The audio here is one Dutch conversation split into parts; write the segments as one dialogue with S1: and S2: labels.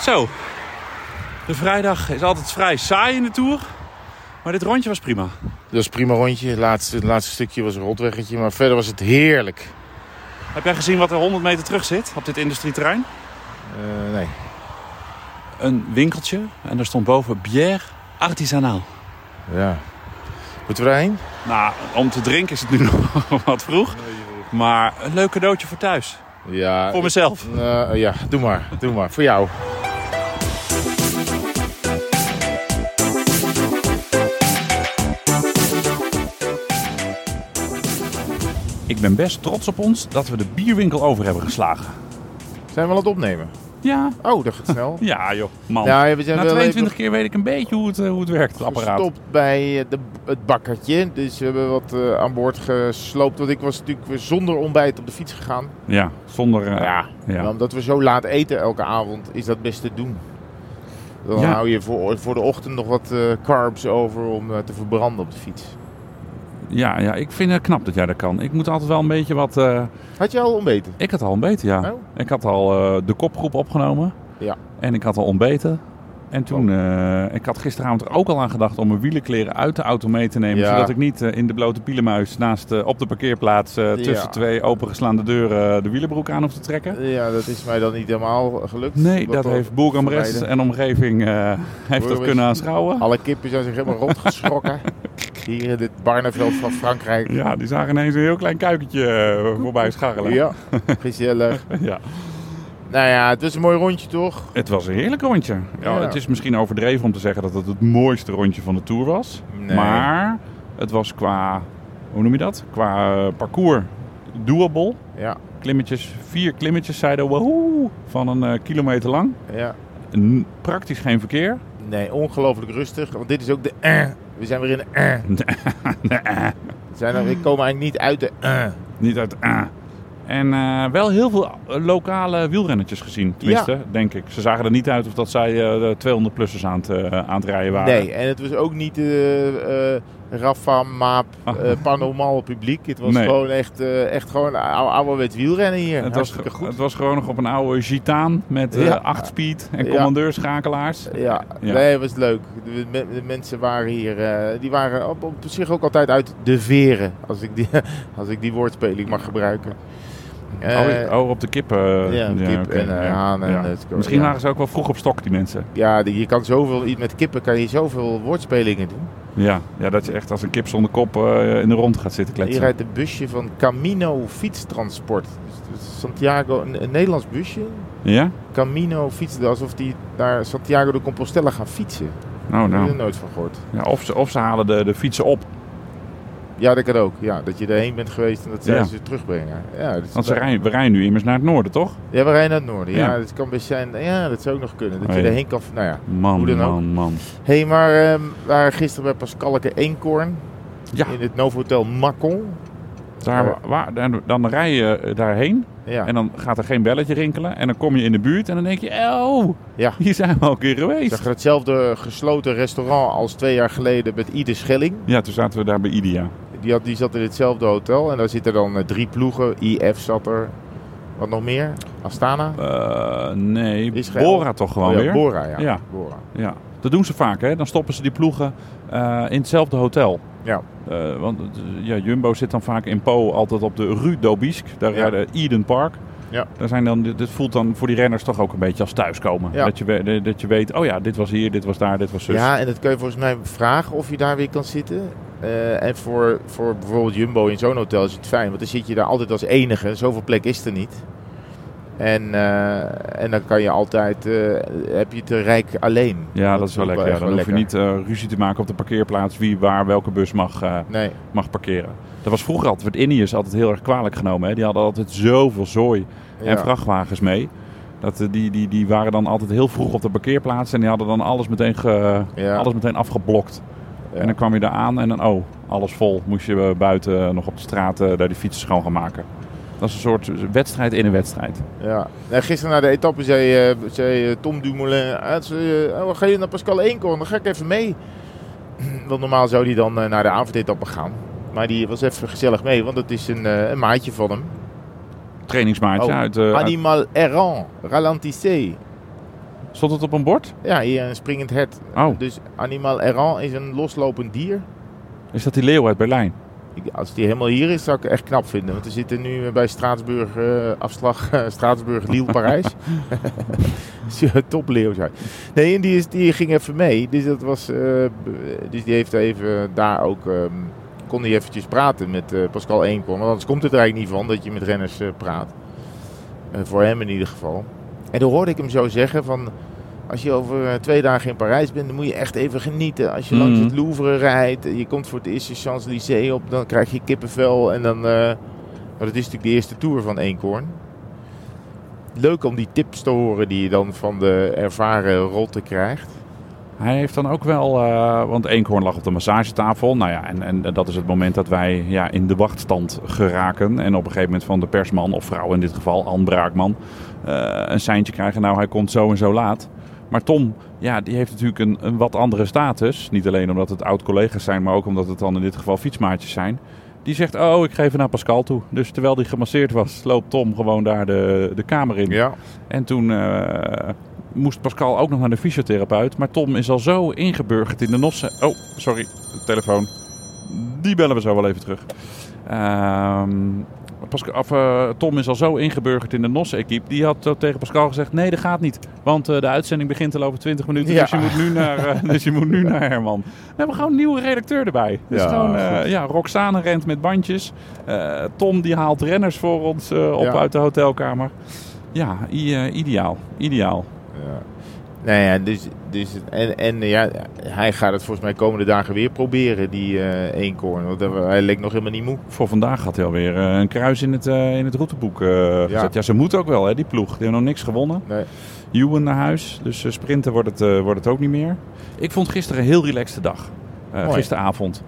S1: Zo. De vrijdag is altijd vrij saai in de Tour. Maar dit rondje was prima.
S2: Dat is een prima rondje. Het laatste, het laatste stukje was een rotweggetje. Maar verder was het heerlijk.
S1: Heb jij gezien wat er 100 meter terug zit op dit industrieterrein?
S2: Eh, nee.
S1: Een winkeltje. En daar stond boven bière artisanaal.
S2: Ja. Moeten we daarheen?
S1: Nou, om te drinken is het nu nog wat vroeg. Maar een leuk cadeautje voor thuis.
S2: Ja.
S1: Voor mezelf.
S2: Eh, ja, doe maar. Doe maar. Voor jou.
S1: Ik ben best trots op ons dat we de bierwinkel over hebben geslagen.
S2: Zijn we aan het opnemen?
S1: Ja,
S2: Oh, dat gaat snel.
S1: ja joh, man.
S2: Ja, we zijn
S1: Na
S2: wel
S1: 22 keer weet ik een beetje hoe het, eh, hoe het werkt, het
S2: even
S1: apparaat.
S2: gestopt bij eh, de, het bakkertje. Dus we hebben wat eh, aan boord gesloopt. Want ik was natuurlijk weer zonder ontbijt op de fiets gegaan.
S1: Ja, zonder... eh,
S2: Ja. Maar
S1: ja.
S2: omdat we zo laat eten elke avond, is dat best te doen. Dan
S1: Ja.
S2: hou je voor, voor de ochtend nog wat eh, carbs over om eh, te verbranden op de fiets.
S1: Ja, ja, ik vind het knap dat jij dat kan. Ik moet altijd wel een beetje wat... eh,
S2: Had je al ontbeten?
S1: ik had al ontbeten, ja.
S2: Oh.
S1: Ik had al eh, de kopgroep opgenomen.
S2: Ja. Oh.
S1: En ik had al ontbeten. En toen, eh, ik had gisteravond er ook al aan gedacht om mijn wielenkleren uit de auto mee te nemen.
S2: Ja.
S1: Zodat ik niet eh, in de blote pielenmuis naast, eh, op de parkeerplaats eh, tussen
S2: Ja.
S1: twee opengeslaande deuren eh, de wielenbroek aan hoef te trekken.
S2: Ja, dat is mij dan niet helemaal gelukt.
S1: Nee,
S2: Wat
S1: dat
S2: dan
S1: heeft Bourg-en-Bresse
S2: vermijden.
S1: en omgeving eh, heeft dat
S2: Bourg-
S1: kunnen aanschouwen.
S2: Alle kippen zijn zich helemaal rondgeschrokken. Hier in dit Barneveld van Frankrijk.
S1: Ja, die zagen ineens een heel klein kuikentje eh, voorbij scharrelen.
S2: Ja, gezellig.
S1: Ja.
S2: Nou ja, het was een mooi rondje toch?
S1: Het was een heerlijk rondje. Ja,
S2: Ja.
S1: Het is misschien overdreven om te zeggen dat het het mooiste rondje van de Tour was.
S2: Nee.
S1: Maar het was qua, hoe noem je dat? Qua eh, parcours doable.
S2: Ja,
S1: Klimmetjes, vier klimmetjes zeiden woehoe van een eh, kilometer lang.
S2: ja.
S1: N- praktisch geen verkeer.
S2: Nee, ongelooflijk rustig. Want dit is ook de eh. We zijn weer in de eh.
S1: eh.
S2: We zijn er, we komen eigenlijk niet uit de eh.
S1: Niet uit... ah. En eh, wel heel veel eh, lokale wielrennetjes gezien, tenminste, denk ik. Ze zagen er niet uit of dat zij eh, de 200-plussers aan, het, eh, aan het rijden waren.
S2: Nee, en het was ook niet eh eh Rafa, Maap,
S1: Ah.
S2: eh panormaal publiek. Het was
S1: Nee.
S2: gewoon echt, eh, echt gewoon oude, ouderwets wielrennen hier.
S1: Het was,
S2: Hartstikke goed.
S1: het was gewoon nog op een oude Gitaan met eh,
S2: Ja.
S1: 8 speed en
S2: Ja.
S1: commandeurschakelaars.
S2: Ja,
S1: eh, Ja.
S2: nee, het was leuk. De, me- de mensen waren hier, eh, die waren op, op zich ook altijd uit de veren, als ik die, als ik die woordspeling mag gebruiken. Eh,
S1: oh, ja, oh, op de kippen.
S2: ja, kip
S1: oké,
S2: en, eh, haan en, eh, het-
S1: Misschien
S2: ja.
S1: waren ze ook wel vroeg op stok, die mensen.
S2: ja, die- je kan zoveel, met kippen kan je zoveel woordspelingen doen.
S1: Ja, ja dat je echt als een kip zonder kop eh, in de rond gaat zitten
S2: Hier
S1: kletsen.
S2: rijdt een busje van Camino Fietstransport. Dus dat is Santiago, een, een Nederlands busje.
S1: Ja?
S2: Camino fietsen, alsof die naar Santiago de Compostela gaan fietsen.
S1: Nou,
S2: Daar heb ik
S1: nou.
S2: er nooit van gehoord.
S1: Ja, of, ze, of ze halen de, de fietsen op.
S2: Ja, dat kan ook. Ja, dat je erheen bent geweest en dat zij
S1: Ja.
S2: ze terugbrengen. Ja, dat is
S1: Want ze
S2: leuk.
S1: rijden, we rijden nu immers naar het noorden, toch?
S2: Ja, we rijden naar het noorden. Ja,
S1: Ja.
S2: dat kan best zijn. Ja, dat zou ook nog kunnen. Dat
S1: Oh,
S2: je
S1: ja.
S2: erheen kan. Nou ja.
S1: Man,
S2: Hoe dan ook.
S1: man, man.
S2: hey, maar ehm, we waren gisteren bij Pascalke Eenkorn.
S1: Ja.
S2: In het Novotel Makkel.
S1: Daar, waar, dan, dan rij je eh, daarheen
S2: Ja.
S1: en dan gaat er geen belletje rinkelen. En dan kom je in de buurt en dan denk je, oh,
S2: ja.
S1: hier zijn we al een keer
S2: Ik
S1: geweest.
S2: zag er hetzelfde gesloten restaurant als twee jaar geleden met Ide Schelling.
S1: Ja, toen zaten we daar bij Idia.
S2: Die, had, die zat in hetzelfde hotel. En daar zitten dan eh, drie ploegen. IF zat er. Wat nog meer? Astana.
S1: Eh, nee,
S2: Israël.
S1: Bora toch gewoon
S2: Oh ja,
S1: weer?
S2: Bora, ja.
S1: Ja.
S2: Bora.
S1: Ja, dat doen ze vaak. Hè? Dan stoppen ze die ploegen eh, in hetzelfde hotel.
S2: Ja.
S1: Eh, want eh, ja, Jumbo zit dan vaak in Po altijd op de Rue d'Aubisque. Daar
S2: Ja.
S1: rijden Eden Park.
S2: Ja.
S1: Daar zijn dan, dit dit voelt dan voor die renners toch ook een beetje als thuiskomen.
S2: Ja.
S1: Dat, je, we- dat je weet, oh ja, dit was hier, dit was daar, dit was zus.
S2: Ja, en dat kun je volgens mij vragen of je daar weer kan zitten. Eh, en voor, voor bijvoorbeeld Jumbo in zo'n hotel is het fijn, want dan zit je daar altijd als enige. Zoveel plek is er niet. En, eh, en dan kan je altijd, eh, heb je het rijk alleen.
S1: Ja, dat, is wel lekker. Ja,
S2: echt
S1: dan hoef je niet eh, ruzie te maken op de parkeerplaats wie waar welke bus mag, eh,
S2: Nee,
S1: mag parkeren. Dat was vroeger altijd, werd Ineos altijd heel erg kwalijk genomen. Hè? Die hadden altijd zoveel zooi en
S2: ja.
S1: vrachtwagens mee. Dat, eh, die, die, die waren dan altijd heel vroeg op de parkeerplaats en die hadden dan alles meteen, ge,
S2: Ja.
S1: alles meteen afgeblokt.
S2: Ja.
S1: En dan kwam je daar aan en dan, oh, alles vol. Moest je eh, buiten eh, nog op de straat eh, daar die fietsen schoon gaan maken. Dat is een soort wedstrijd in een wedstrijd.
S2: Ja. Nou, gisteren na de etappe zei, eh, zei eh, Tom Dumoulin... ah, ze, eh, oh, ga je naar Pascal Eenkorn? Dan ga ik even mee. Want normaal zou hij dan eh, naar de avondetappe gaan. Maar die was even gezellig mee, want het is een, eh, een maatje van hem.
S1: Trainingsmaatje
S2: Oh,
S1: uit... eh, uit-
S2: Animal errant, ralentissez.
S1: Stond het op een bord?
S2: Ja, hier een springend hert.
S1: Oh.
S2: Dus animal errant is een loslopend dier.
S1: Is dat die leeuw uit Berlijn?
S2: Ik- Als die helemaal hier is, zou ik het echt knap vinden. Want we zitten nu bij Straatsburg, eh, afslag eh, Straatsburg, Lille, Parijs. Top leeuw zijn. Nee, en die, is, die ging even mee. Dus, dat was, eh, b- dus die heeft even daar ook... ehm, kon hij eventjes praten met eh, Pascal Eenkorn. Want anders komt het er eigenlijk niet van dat je met renners eh, praat. Eh, voor hem in ieder geval. En toen hoorde ik hem zo zeggen van... Als je over eh, twee dagen in Parijs bent, dan moet je echt even genieten. Als je
S1: Mhm.
S2: langs het Louvre rijdt, en je komt voor het eerst de Champs-Élysées op, dan krijg je kippenvel. En dan, eh, maar dat is natuurlijk de eerste tour van Eenkorn. Leuk om die tips te horen die je dan van de ervaren rotte krijgt.
S1: Hij heeft dan ook wel, eh, want Eenkhoorn lag op de massagetafel. Nou ja, en, en dat is het moment dat wij ja, in de wachtstand geraken. En op een gegeven moment van de persman, of vrouw in dit geval, Anne Braakman, eh, een seintje krijgen. Nou, hij komt zo en zo laat. Maar Tom, ja, die heeft natuurlijk een, een wat andere status. Niet alleen omdat het oud-collega's zijn, maar ook omdat het dan in dit geval fietsmaatjes zijn. Die zegt, oh, ik geef het naar Pascal toe. Dus terwijl die gemasseerd was, loopt Tom gewoon daar de, de kamer in.
S2: Ja,
S1: En toen eh, moest Pascal ook nog naar de fysiotherapeut. Maar Tom is al zo ingeburgerd in de nossen. Oh, sorry, de telefoon. Die bellen we zo wel even terug. Ehm, Pascal, of, eh, Tom is al zo ingeburgerd in de Nossen-equipe. Die had eh, tegen Pascal gezegd: Nee, dat gaat niet. Want eh, de uitzending begint al over 20 minuten.
S2: Ja.
S1: Dus, je moet nu naar, eh, dus je moet nu naar Herman. We hebben gewoon een nieuwe redacteur erbij. Dus
S2: Ja,
S1: gewoon, eh,
S2: goed.
S1: ja, Roxane rent met bandjes. Eh, Tom die haalt renners voor ons eh, op
S2: Ja.
S1: uit de hotelkamer. Ja, i- eh, ideaal. Ideaal.
S2: Ja. Nou ja, dus, dus, en, en ja, hij gaat het volgens mij komende dagen weer proberen, die eh eenkorn. Want hij leek nog helemaal niet moe.
S1: Voor vandaag had hij alweer eh, een kruis in het, eh, in het routeboek eh gezet. Ja, ze moeten ook wel, hè, die ploeg. Die hebben nog niks gewonnen.
S2: Nee.
S1: Ewan naar huis, dus eh, sprinten wordt het, eh, wordt het ook niet meer. Ik vond gisteren een heel relaxte dag. Eh,
S2: Mooi.
S1: gisteravond.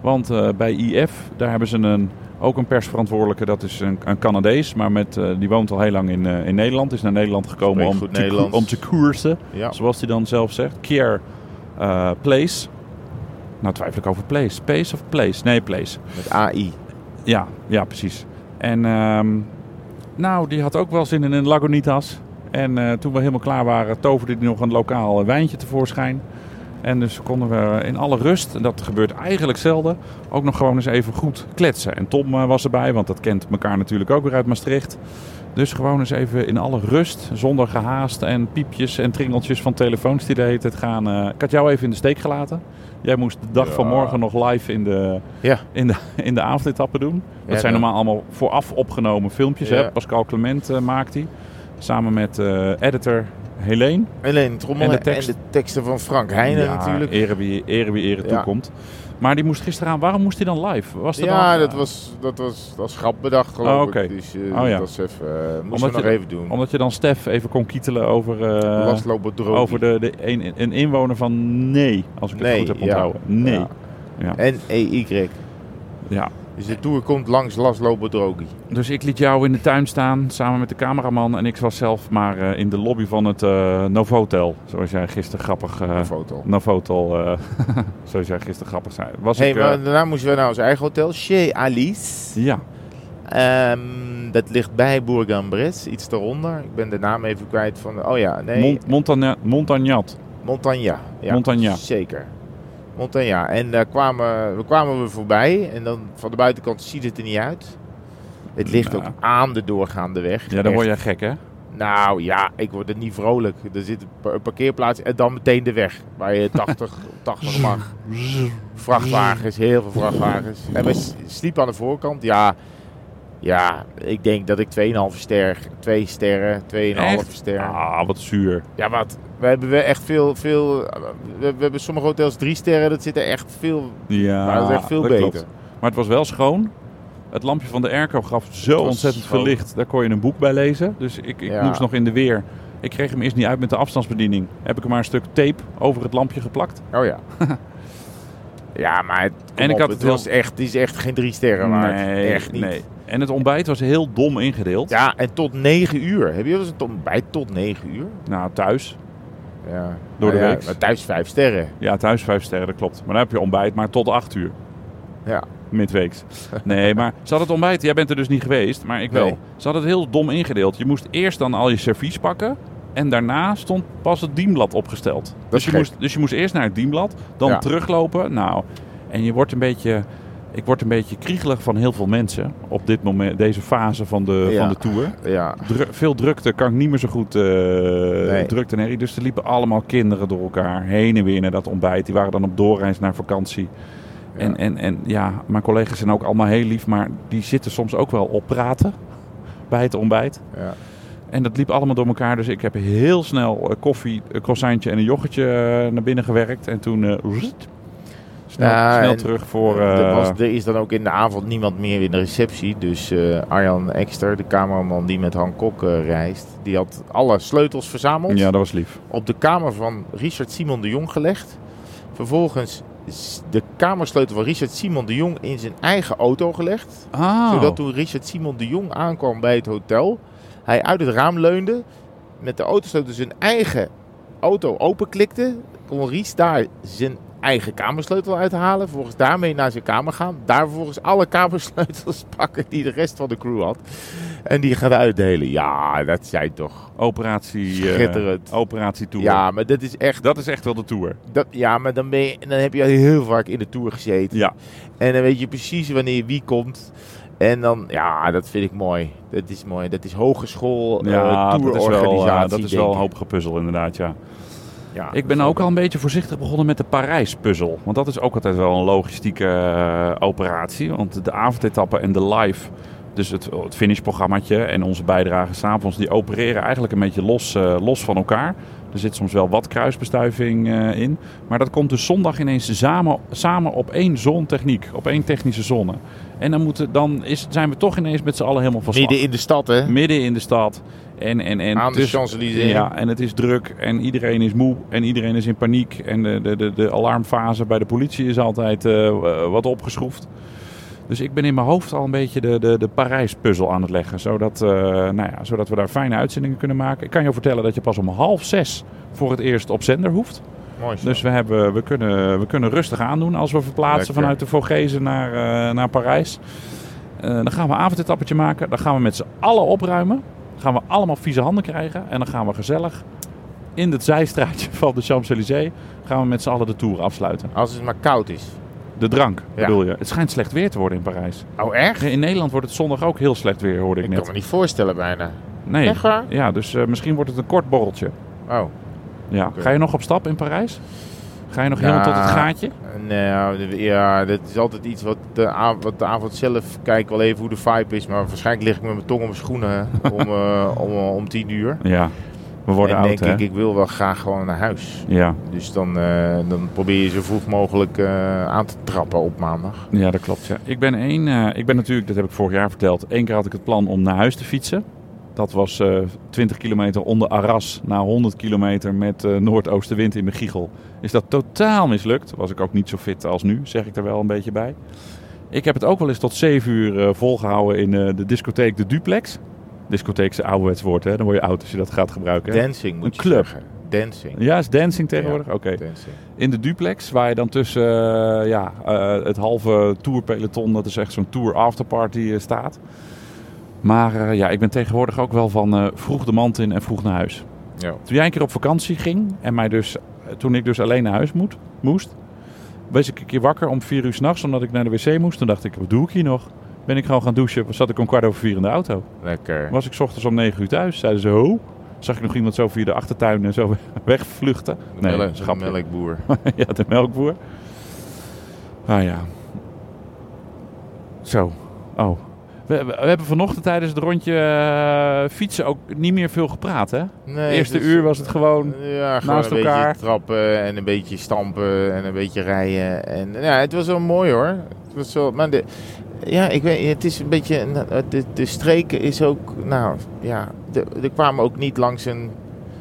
S1: Want eh, bij IF, daar hebben ze een, ook een persverantwoordelijke. Dat is een, een Canadees, maar met, eh, die woont al heel lang in, eh, in Nederland. Is naar Nederland gekomen
S2: Spreekt
S1: om
S2: goed
S1: te, ko-
S2: Nederlands.
S1: om te koersen.
S2: Ja.
S1: Zoals hij dan zelf zegt. Care eh, Place. Nou twijfel ik over Place. Pace of Place? Nee, Place.
S2: Met AI.
S1: Ja, ja, precies. En ehm, nou, die had ook wel zin in een Lagunitas. En eh, toen we helemaal klaar waren, toverde hij nog een lokaal eh, wijntje tevoorschijn. En dus konden we in alle rust, en dat gebeurt eigenlijk zelden, ook nog gewoon eens even goed kletsen. En Tom eh, was erbij, want dat kent elkaar natuurlijk ook weer uit Maastricht. Dus gewoon eens even in alle rust, zonder gehaast en piepjes en tringeltjes van telefoons die de hele tijd gaan. eh, ik had jou even in de steek gelaten. Jij moest de dag
S2: Ja.
S1: van morgen nog live in de,
S2: Ja.
S1: in de, in de avondetappe doen. Dat
S2: Ja,
S1: zijn
S2: dan-
S1: normaal allemaal vooraf opgenomen filmpjes.
S2: Ja.
S1: Hè? Pascal Clement eh, maakt die. Samen met eh, editor Helene.
S2: Alleen Trommel
S1: En
S2: en
S1: de
S2: de,
S1: tekst.
S2: teksten van Frank Heijnen
S1: Ja,
S2: natuurlijk.
S1: Ere wie ere, wie ere
S2: Ja.
S1: toekomt. Maar die moest gisteravond... Waarom moest hij dan live? Was er
S2: Ja,
S1: dan, eh,
S2: dat was, dat was als grap bedacht geloof
S1: Oh, oké.
S2: ik. Dus eh,
S1: Oh, ja.
S2: dat was even, eh, moesten
S1: Omdat
S2: we nog
S1: je-
S2: even doen.
S1: Omdat je dan Stef even kon kietelen over... eh,
S2: Lastlopen droog.
S1: over de, de een, een inwoner van nee, als ik het
S2: Nee,
S1: goed heb
S2: ja.
S1: onthouden. Nee.
S2: Ja.
S1: Ja.
S2: En EY.
S1: ja.
S2: Dus de tour komt langs Laszlo Drogi.
S1: Dus ik liet jou in de tuin staan samen met de cameraman. En ik was zelf maar eh, in de lobby van het eh Novotel. Zoals jij gisteren grappig. eh
S2: foto.
S1: Novotel, eh, zoals jij gisteren grappig zei. Was
S2: Hey,
S1: ik, eh,
S2: maar daarna moesten we naar ons eigen hotel, Chez Alice.
S1: ja,
S2: Ehm, dat ligt bij Bourg-en-Bresse, iets daaronder. Ik ben de naam even kwijt van. Oh ja, nee.
S1: Mont, Montagna- Montagnat.
S2: Montagna. Ja,
S1: Montagna.
S2: Zeker. Montagna. En daar kwamen we, kwamen we voorbij. En dan van de buitenkant ziet het er niet uit. Het ligt
S1: Nou.
S2: ook aan de doorgaande weg.
S1: Ja, dan word
S2: Echt.
S1: jij gek, hè?
S2: Nou ja, ik word er niet vrolijk. Er zit een pa- een parkeerplaats en dan meteen de weg. Waar je 80, 80 mag. Vrachtwagens, heel veel vrachtwagens. En we s- sliepen aan de voorkant. Ja, ja ik denk dat ik 2,5 ster, 2 sterren, 2,5
S1: Echt?
S2: ster.
S1: Ah, wat zuur.
S2: Ja, wat? We hebben we echt veel, veel we, we hebben sommige hotels 3 sterren. Dat zit er echt veel,
S1: Ja,
S2: maar dat is echt veel beter.
S1: klopt. Maar het was wel schoon. Het lampje van de airco gaf zo
S2: was
S1: ontzettend
S2: schoon.
S1: veel licht. Daar kon je een boek bij lezen. Dus ik, ik
S2: Ja.
S1: moest nog in de weer. Ik kreeg hem eerst niet uit met de afstandsbediening. Heb ik er maar een stuk tape over het lampje geplakt.
S2: Oh ja. ja, maar het,
S1: En
S2: en
S1: ik
S2: ik
S1: had
S2: het
S1: het
S2: was echt, het is echt geen 3 sterren waard. echt niet.
S1: nee. En het ontbijt was heel dom ingedeeld.
S2: Ja, en tot 9 uur. Heb je wel eens een ontbijt tot 9 uur?
S1: Nou, thuis.
S2: Ja.
S1: Door de
S2: Nou ja,
S1: week.
S2: Maar thuis 5 sterren.
S1: Ja, thuis vijf sterren, dat klopt. Maar dan heb je ontbijt, maar tot acht uur.
S2: Ja.
S1: Midweeks. Nee, maar ze had het ontbijt. Jij bent er dus niet geweest, maar ik wel.
S2: Nee.
S1: Ze had het heel dom ingedeeld. Je moest eerst dan al je servies pakken. En daarna stond pas het dienblad opgesteld. Dus je,
S2: gek.
S1: moest, dus je moest eerst naar het dienblad, dan
S2: Ja.
S1: teruglopen. Nou, en je wordt een beetje... Ik word een beetje kriegelig van heel veel mensen op dit moment, deze fase van de,
S2: Ja.
S1: van de tour.
S2: Ja,
S1: Dru- veel drukte kan ik niet meer zo goed eh drukte en herrie. Dus er liepen allemaal kinderen door elkaar heen en weer naar dat ontbijt. Die waren dan op doorreis naar vakantie. En, en, en ja, mijn collega's zijn ook allemaal heel lief, maar die zitten soms ook wel op praten bij het ontbijt.
S2: ja.
S1: En dat liep allemaal door elkaar. Dus ik heb heel snel eh, koffie, een croissantje en een yoghurtje eh, naar binnen gewerkt. En toen eh, roest, snel,
S2: Ja,
S1: snel
S2: en
S1: terug voor...
S2: er,
S1: eh,
S2: was, er is dan ook in de avond niemand meer in de receptie. Dus eh, Arjan Ekster, de cameraman die met Han Kok eh, reist, die had alle sleutels verzameld.
S1: ja, dat was lief.
S2: Op de kamer van Richard Simon de Jong gelegd. Vervolgens is de kamersleutel van Richard Simon de Jong in zijn eigen auto gelegd.
S1: Ah,
S2: Zodat toen Richard Simon de Jong aankwam bij het hotel, hij uit het raam leunde, met de autosleutel zijn eigen auto openklikte, kon Ries daar zijn eigen kamersleutel uithalen, vervolgens daarmee naar zijn kamer gaan, daar vervolgens alle kamersleutels pakken die de rest van de crew had en die gaan uitdelen. Ja, dat zijn toch...
S1: operatie, eh,
S2: Schitterend.
S1: operatie Tour.
S2: Ja, maar dat is echt...
S1: Dat is echt wel de Tour.
S2: Dat, ja, maar dan, ben je, dan heb je al heel vaak in de Tour gezeten.
S1: Ja.
S2: En dan weet je precies wanneer wie komt. En dan, ja, dat vind ik mooi. Dat is mooi. Dat is hogeschool,
S1: Ja,
S2: ja,
S1: dat is wel, eh, dat is wel een
S2: hoop.
S1: hoop gepuzzel inderdaad, ja.
S2: Ja,
S1: Ik ben ook al een beetje voorzichtig begonnen met de Parijs-puzzel. Want dat is ook altijd wel een logistieke eh, operatie. Want de avondetappen en de live, dus het, het finishprogrammaatje en onze bijdragen s'avonds... die opereren eigenlijk een beetje los, eh, los van elkaar. Er zit soms wel wat kruisbestuiving eh, in. Maar dat komt dus zondag ineens samen, samen op één zontechniek. Op één technische zone. En dan, moeten, dan is, zijn we toch ineens met z'n allen helemaal van slag
S2: Midden in de stad, hè?
S1: midden in de stad. En, en, en
S2: Aan de
S1: tussen-
S2: Champs-Élysées.
S1: Ja, en het is druk en iedereen is moe en iedereen is in paniek. En de, de, de, de alarmfase bij de politie is altijd eh, eh, wat opgeschroefd. Dus ik ben in mijn hoofd al een beetje de, de, de Parijs-puzzel aan het leggen. Zodat, eh, nou ja, zodat we daar fijne uitzendingen kunnen maken. Ik kan je vertellen dat je pas om half zes voor het eerst op zender hoeft.
S2: Mooi. zo.
S1: Dus we, hebben, we, kunnen, we kunnen rustig aandoen als we verplaatsen
S2: Lekker.
S1: vanuit de Vogezen naar, eh, naar Parijs. Eh, dan gaan we een avondetappetje maken. Dan gaan we met z'n allen opruimen. Dan gaan we allemaal vieze handen krijgen. En dan gaan we gezellig in het zijstraatje van de Champs-Élysées... gaan we met z'n allen de Tour afsluiten.
S2: Als het maar koud is.
S1: De drank,
S2: Ja.
S1: bedoel je. Het schijnt slecht weer te worden in Parijs.
S2: Oh, echt?
S1: In Nederland wordt het zondag ook heel slecht weer, hoorde ik,
S2: Ik kan
S1: net.
S2: me niet voorstellen bijna.
S1: Nee.
S2: Echt waar?
S1: Ja, dus eh, misschien wordt het een kort borreltje.
S2: Oh,
S1: Ja.
S2: Oké.
S1: Ga je nog op stap in Parijs? Ga je nog helemaal tot het
S2: Ja.
S1: gaatje?
S2: nou, d- ja, dat is altijd iets wat de, av- wat de avond zelf... Kijk wel even hoe de vibe is, maar waarschijnlijk lig ik met mijn tong op mijn schoenen hè, om, eh, om, om tien uur.
S1: Ja, we worden
S2: en
S1: oud,
S2: denk
S1: hè?
S2: ik, ik wil wel graag gewoon naar huis.
S1: Ja.
S2: Dus dan, eh, dan probeer je zo vroeg mogelijk eh, aan te trappen op maandag.
S1: ja, dat klopt. Ja. Ik, ben één, eh, ik ben natuurlijk, dat heb ik vorig jaar verteld, één keer had ik het plan om naar huis te fietsen. Dat was eh 20 kilometer onder Arras na 100 kilometer met eh, noordoostenwind in mijn giegel. Is dat totaal mislukt. Was ik ook niet zo fit als nu, zeg ik er wel een beetje bij. Ik heb het ook wel eens tot 7 uur eh, volgehouden in eh, de discotheek De Duplex. Discotheek is een ouderwets woord, hè? Dan word je oud als je dat gaat gebruiken. hè?
S2: Dancing moet
S1: Een
S2: je
S1: club.
S2: zeggen. Dancing.
S1: Ja, is dancing tegenwoordig?
S2: Ja,
S1: Oké.
S2: dancing.
S1: In de duplex, waar je dan tussen eh, ja, eh, het halve tourpeloton, dat is echt zo'n tour afterparty, eh, staat. Maar eh, ja, ik ben tegenwoordig ook wel van eh, vroeg de mand in en vroeg naar huis.
S2: Ja.
S1: Toen jij een keer op vakantie ging en mij dus, toen ik dus alleen naar huis moet, moest, was ik een keer wakker om vier uur s'nachts omdat ik naar de wc moest. Toen dacht ik, wat doe ik hier nog? Ben ik gewoon gaan douchen, zat ik om kwart over vier in de auto.
S2: Lekker.
S1: Was ik 's ochtends om 9 uur thuis, zeiden ze ho. Zag ik nog iemand zo via de achtertuin en zo wegvluchten.
S2: De
S1: Nee,
S2: melk- de
S1: grapje
S2: melkboer.
S1: ja, de melkboer. Ah ja. Zo. Oh. We, we, we hebben vanochtend tijdens het rondje eh, fietsen ook niet meer veel gepraat, hè?
S2: Nee,
S1: Eerste
S2: dus-
S1: uur was het gewoon...
S2: Ja, gewoon
S1: naast
S2: een
S1: elkaar.
S2: beetje trappen en een beetje stampen en een beetje rijden. En, ja, het was wel mooi hoor. Het was wel, maar de, ja, ik weet, het is een beetje... een- De, de streken is ook... Nou, ja, de- er kwamen ook niet langs een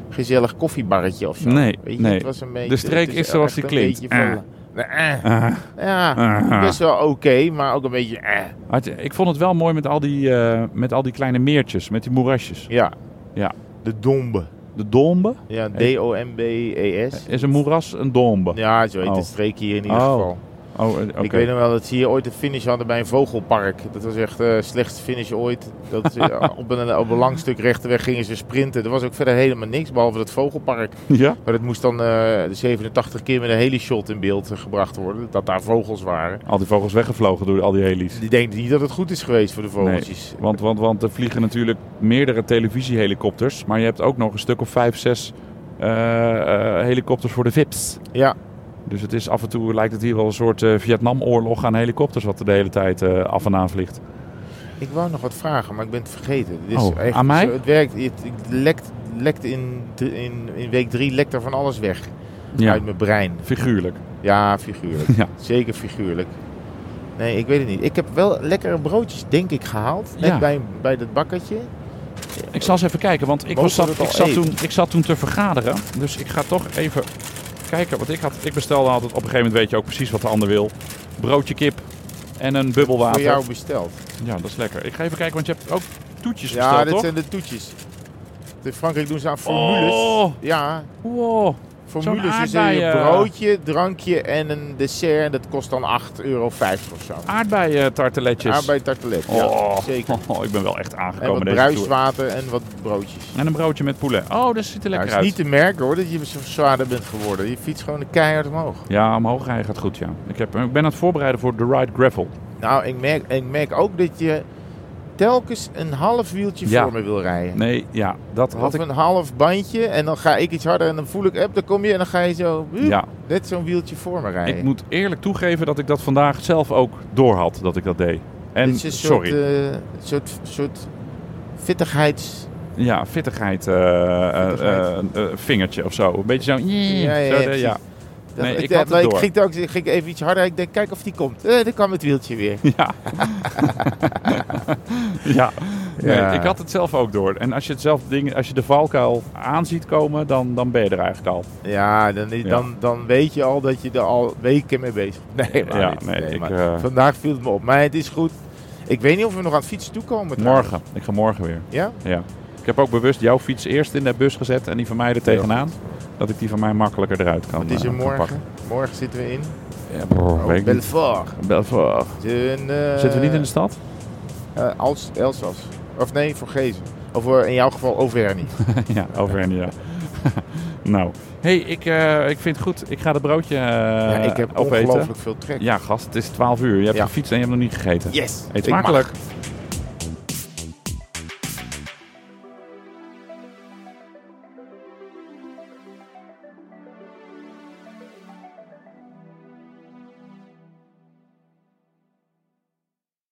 S2: gezellig koffiebarretje of zo.
S1: Nee,
S2: Weet je,
S1: nee.
S2: Het was een beetje,
S1: De streek
S2: het
S1: is zoals
S2: echt
S1: die
S2: een
S1: klinkt.
S2: beetje
S1: Eh.
S2: van- Nou, eh.
S1: Ah,
S2: Ja,
S1: Ah.
S2: best wel oké, maar ook een beetje. Eh.
S1: had je- ik vond het wel mooi met al, die, eh, met al die kleine meertjes, met die moerasjes.
S2: Ja.
S1: Ja.
S2: De dombe.
S1: De Dombe.
S2: Ja, D-O-M-B-E-S.
S1: Eh, Is een moeras een dombe?
S2: E Ja, zo heet
S1: Oh.
S2: de streek hier in ieder
S1: Oh.
S2: geval.
S1: Oh, eh, oké.
S2: Ik weet nog wel dat ze hier ooit een finish hadden bij een vogelpark. Dat was echt de slechtste finish ooit. Dat ze eh, op, een, op een lang stuk rechte weg gingen ze sprinten. Er was ook verder helemaal niks, behalve dat vogelpark.
S1: Ja?
S2: Maar dat moest dan eh, 87 keer met een helishot in beeld eh, gebracht worden. Dat daar vogels waren.
S1: Al die vogels weggevlogen door al die heli's.
S2: Die denken niet dat het goed is geweest voor de vogeltjes.
S1: Want, want, want er vliegen natuurlijk meerdere televisiehelikopters. Maar je hebt ook nog een stuk of vijf, zes eh, eh, helikopters voor de VIP's.
S2: Ja,
S1: Dus het is af en toe lijkt het hier wel een soort eh, Vietnamoorlog aan helikopters wat er de hele tijd eh, af en aan vliegt.
S2: ik wou nog wat vragen, maar ik ben het vergeten. Dit is
S1: Oh,
S2: echt
S1: aan mij?
S2: zo- het werkt, het, het lekt, lekt in, in, in week drie lekt er van alles weg
S1: Ja,
S2: uit mijn brein.
S1: figuurlijk.
S2: Ja, figuurlijk.
S1: Ja.
S2: Zeker figuurlijk. Nee, ik weet het niet. Ik heb wel lekkere broodjes, denk ik, gehaald. Net
S1: Ja.
S2: bij, bij dat bakkertje.
S1: Ik zal eens even kijken, want ik,
S2: Mogen
S1: was
S2: we
S1: zat,
S2: dat al
S1: ik, zat
S2: eten?
S1: toen, ik zat toen te vergaderen. Dus ik ga toch even kijken. Want ik, had, ik bestelde altijd, op een gegeven moment weet je ook precies wat de ander wil. Broodje kip en een bubbelwater.
S2: Voor jou besteld.
S1: Ja, dat is lekker. Ik ga even kijken, want je hebt ook toetjes
S2: Ja,
S1: besteld,
S2: dit
S1: toch?
S2: zijn de toetjes. In Frankrijk doen ze aan formules.
S1: Oh.
S2: Ja,
S1: Wow.
S2: formules is
S1: aardbeien-
S2: een broodje, drankje en een dessert. En dat kost dan 8,50 euro of zo.
S1: Aardbeien tarteletjes.
S2: Arbeidtartelet,
S1: Oh.
S2: ja, zeker.
S1: Oh, ik ben wel echt
S2: En
S1: aangekomen
S2: wat
S1: deze tour.
S2: bruiswater en wat broodjes.
S1: En een broodje met poulet. Oh, dat ziet er
S2: Ja,
S1: lekker
S2: het is
S1: uit.
S2: niet te merken hoor, dat je zo zwaarder bent geworden. Je fietst gewoon keihard omhoog.
S1: Ja, omhoog rijden gaat goed, ja. Ik, heb, ik ben aan het voorbereiden voor de Ride Gravel.
S2: Nou, ik merk, ik merk ook dat je telkens een half wieltje
S1: Ja.
S2: voor me wil rijden.
S1: Nee, ja, dat had
S2: of
S1: ik...
S2: een half bandje en dan ga ik iets harder en dan voel ik, up, dan kom je en dan ga je zo, hup,
S1: Ja,
S2: net zo'n wieltje voor me rijden.
S1: ik moet eerlijk toegeven dat ik dat vandaag zelf ook door had, dat ik dat deed. En,
S2: Het is een soort,
S1: sorry,
S2: eh, soort, soort vittigheids...
S1: ja, vittigheid, eh, eh,
S2: Vittigheid.
S1: eh, eh, vingertje of zo. Een beetje zo... zo de-
S2: precies.
S1: ja.
S2: Dat-
S1: Nee, ik
S2: dat-
S1: had het
S2: maar
S1: door.
S2: ging, telkens- ik ging even iets harder. Ik denk, kijk of die komt. Eh, dan kwam het wieltje weer.
S1: Ja. ja. Nee,
S2: Ja.
S1: Ik had het zelf ook door. En als je, het zelf ding, als je de valkuil aan ziet komen, dan, dan ben je er eigenlijk al.
S2: Ja, dan, dan, dan weet je al dat je er al weken mee bezig bent. Nee, maar,
S1: Ja,
S2: niet.
S1: nee, ik,
S2: maar
S1: eh,
S2: vandaag viel het me op. Maar het is goed. Ik weet niet of we nog aan het fietsen toekomen. trouwens.
S1: Morgen. Ik ga morgen weer.
S2: Ja?
S1: Ja. Ik heb ook bewust jouw fiets eerst in de bus gezet en die van mij er tegenaan. Dat ik die van mij makkelijker eruit kan,
S2: Wat is
S1: eh,
S2: er
S1: kan
S2: morgen?
S1: pakken.
S2: Morgen zitten we in.
S1: Ja, brrr,
S2: Oh,
S1: weet ik niet.
S2: Belfort.
S1: Belfort.
S2: Een, eh,
S1: oh, Zitten we niet in de stad?
S2: eh, Els, Elsass. Of nee, voor Gezen. Of eh, in jouw geval Auvergne.
S1: ja, over ja. nou. hey, ik, eh, ik vind het goed. Ik ga dat broodje eh
S2: ja, ik heb
S1: opeten.
S2: ongelooflijk veel trek.
S1: Ja, gast, het is 12 uur. Je hebt
S2: Ja.
S1: gefietst en je hebt nog niet gegeten.
S2: Yes!
S1: Eet
S2: ik mag.
S1: smakelijk.